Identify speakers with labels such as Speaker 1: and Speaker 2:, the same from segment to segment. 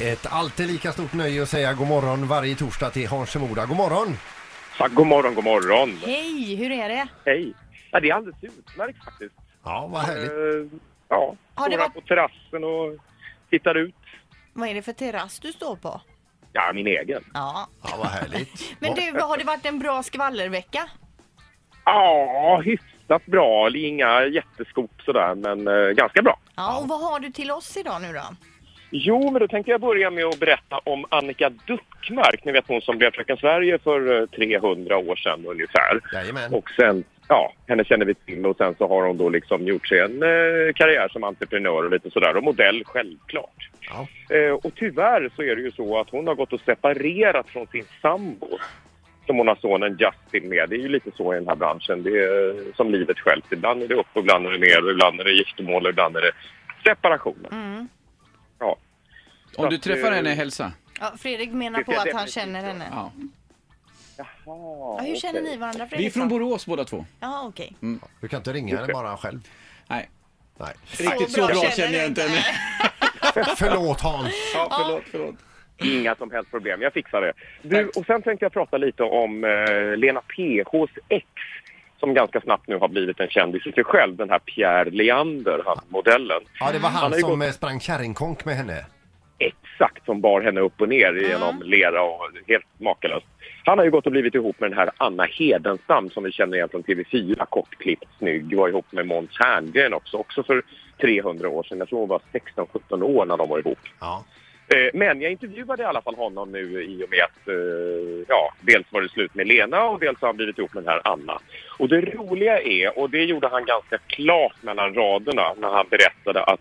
Speaker 1: Ett alltid lika stort nöje att säga god morgon varje torsdag till Hans Semoda. God morgon!
Speaker 2: Ja, god morgon, god morgon.
Speaker 3: Hej, hur är det?
Speaker 2: Hej. Ja, det är alldeles utmärkt faktiskt.
Speaker 1: Ja, vad härligt.
Speaker 2: Eh, ja,
Speaker 3: Har det
Speaker 2: står här
Speaker 3: varit-
Speaker 2: på terrassen och tittar ut.
Speaker 3: Vad är det för terrass du står på?
Speaker 2: Ja, min egen.
Speaker 3: Ja.
Speaker 1: Ja, vad härligt.
Speaker 3: Men du, har det varit en bra skvallervecka?
Speaker 2: Ja, hyfsat bra. Inga jätteskop sådär, men eh, ganska bra.
Speaker 3: Ja, och vad har du till oss idag nu då?
Speaker 2: Jo, men då tänkte jag börja med att berätta om Annika Duckmark. Ni vet hon som blev Fröken Sverige för eh, 300 år sedan ungefär.
Speaker 1: Jajamän.
Speaker 2: Och sen, ja, henne känner vi till och sen så har hon då liksom gjort sig en eh, karriär som entreprenör och lite sådär och modell självklart.
Speaker 1: Ja.
Speaker 2: Eh, och tyvärr så är det ju så att hon har gått och separerat från sin sambo som hon har sonen Justin med. Det är ju lite så i den här branschen. Det är eh, som livet självt. Ibland är det upp och ibland är det ner och ibland är det giftermål och ibland är det separationer.
Speaker 3: Mm.
Speaker 2: Ja.
Speaker 4: Om du
Speaker 2: Så att,
Speaker 4: träffar
Speaker 2: eh,
Speaker 4: henne, hälsa.
Speaker 3: Ja, Fredrik menar
Speaker 2: Det
Speaker 3: på
Speaker 2: ser jag
Speaker 3: att han
Speaker 2: definitivt
Speaker 3: känner
Speaker 2: så.
Speaker 3: henne.
Speaker 4: Ja.
Speaker 3: Ja,
Speaker 2: Jaha,
Speaker 3: hur känner
Speaker 2: okej.
Speaker 3: ni varandra Fredrik?
Speaker 4: Vi är från
Speaker 3: då?
Speaker 4: Borås båda två.
Speaker 3: Ja, okej.
Speaker 1: Du kan inte ringa henne bara själv.
Speaker 4: Nej,
Speaker 1: Nej.
Speaker 4: riktigt så bra känner jag inte henne.
Speaker 1: Förlåt Hans!
Speaker 4: Ja, förlåt, förlåt.
Speaker 2: Inga som helst problem, jag fixar det. Du, och sen tänkte jag prata lite om eh, Lena PHs ex som ganska snabbt nu har blivit en kändis i sig själv, den här Pierre Leander, han modellen.
Speaker 1: Ja, det var
Speaker 2: Han
Speaker 1: han
Speaker 2: har ju
Speaker 1: som
Speaker 2: gått-
Speaker 1: eh, sprang kärringkonk med henne.
Speaker 2: Exakt som bar henne upp och ner genom lera och helt makalöst. Han har ju gått och blivit ihop med den här Anna Hedenstam som vi känner igen från TV4, kortklippt, snygg, var ihop med Måns Herngren också, också för 300 år sedan. Jag tror hon var 16-17 år när de var ihop.
Speaker 1: Ja.
Speaker 2: Eh, Men jag intervjuade i alla fall honom nu i och med att eh, ja, dels var det slut med Lena och dels har han blivit ihop med den här Anna. Och det roliga är, och det gjorde han ganska klart mellan raderna när han berättade att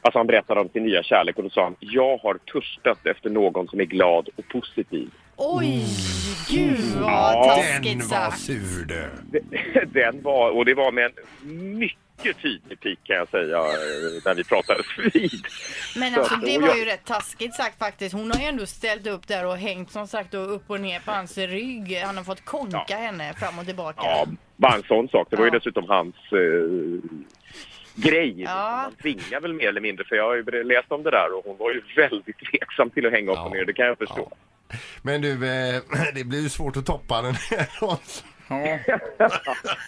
Speaker 2: Alltså han berättade om sin nya kärlek och då sa han jag har törstat efter någon som är glad och positiv.
Speaker 3: Oj, gud vad
Speaker 2: Ja,
Speaker 3: taskigt
Speaker 1: Den var
Speaker 3: sagt.
Speaker 1: sur du!
Speaker 2: Det- Den var, och det var med en mycket tydlig pik kan jag säga eh, när vi pratades vid.
Speaker 3: Men alltså
Speaker 2: Och
Speaker 3: det
Speaker 2: jag-
Speaker 3: var ju rätt taskigt sagt faktiskt. Hon har ju ändå ställt upp där och hängt som sagt då upp och ner på hans rygg. Han har fått konka
Speaker 2: Ja.
Speaker 3: henne fram och tillbaka.
Speaker 2: Ja, bara en sån sak. Det var ju
Speaker 3: Ja.
Speaker 2: dessutom hans eh, grej.
Speaker 3: Ja.
Speaker 2: Man tvingar väl mer eller mindre, för jag har ju läst om det där och hon var ju väldigt tveksam till att hänga upp
Speaker 1: Ja.
Speaker 2: och ner, det kan jag förstå.
Speaker 1: Men du, eh, det blir ju svårt att toppa den här Hans.
Speaker 4: Ja.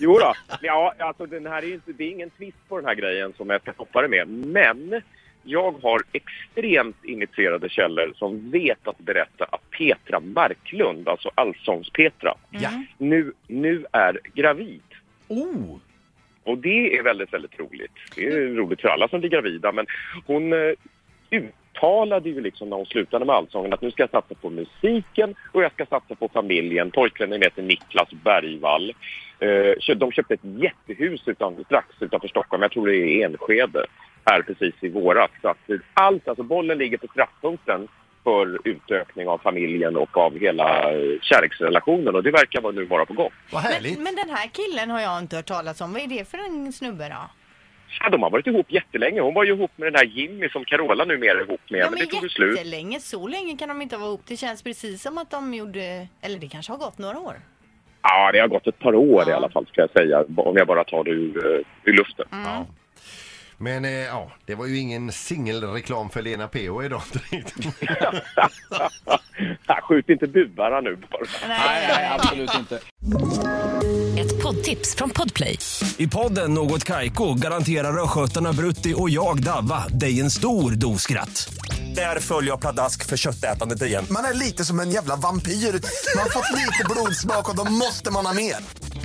Speaker 2: Jo då. ja, alltså den här är ju inte, det är ingen twist på den här grejen som jag ska toppa det med, men jag har extremt initierade källor som vet att berätta att Petra Marklund, alltså Allsångs-Petra,
Speaker 3: Mm.
Speaker 1: Ja.
Speaker 2: nu, nu är gravid.
Speaker 4: Oh!
Speaker 2: Och det är väldigt, väldigt roligt. Det är roligt för alla som blir gravida, men hon eh, uttalade ju liksom när hon slutade med Allsången att nu ska jag satsa på musiken och jag ska satsa på familjen. Pojkvännen heter Niklas Bergvall. Eh, kö- de köpte ett jättehus utan, strax utanför Stockholm, jag tror det är Enskede, här precis i våras. Så att allt, alltså bollen ligger på straffpunkten för utökning av familjen och av hela eh, kärleksrelationen och det verkar vara nu vara på gång.
Speaker 1: Vad härligt!
Speaker 3: Men, men den här killen har jag inte hört talas om. Vad är det för en snubbe då?
Speaker 2: Ja, de har varit ihop jättelänge. Hon var ju ihop med den här Jimmy som Carola numera är ihop med. men, det tog ju slut.
Speaker 3: jättelänge. Så länge kan de inte vara ihop. Det känns precis som att de gjorde... Eller det kanske har gått några år.
Speaker 2: Ja, det har gått ett par år i
Speaker 3: Ja.
Speaker 2: alla fall ska jag säga. Om jag bara tar det ur, eh, ur luften.
Speaker 1: Ja. Men eh, ja, det var ju ingen singelreklam för Lena PH idag direkt.
Speaker 2: Ja, Skjut inte buvarna nu bara.
Speaker 4: Nej, nej, absolut inte.
Speaker 5: Ett poddtips från Podplay.
Speaker 6: I podden Något Kaiko garanterar östgötarna Brutti och jag, Davva, dig en stor dos skratt. Där följer jag pladask för köttätandet igen.
Speaker 7: Man är lite som en jävla vampyr. Man har fått lite blodsmak och då måste man ha mer.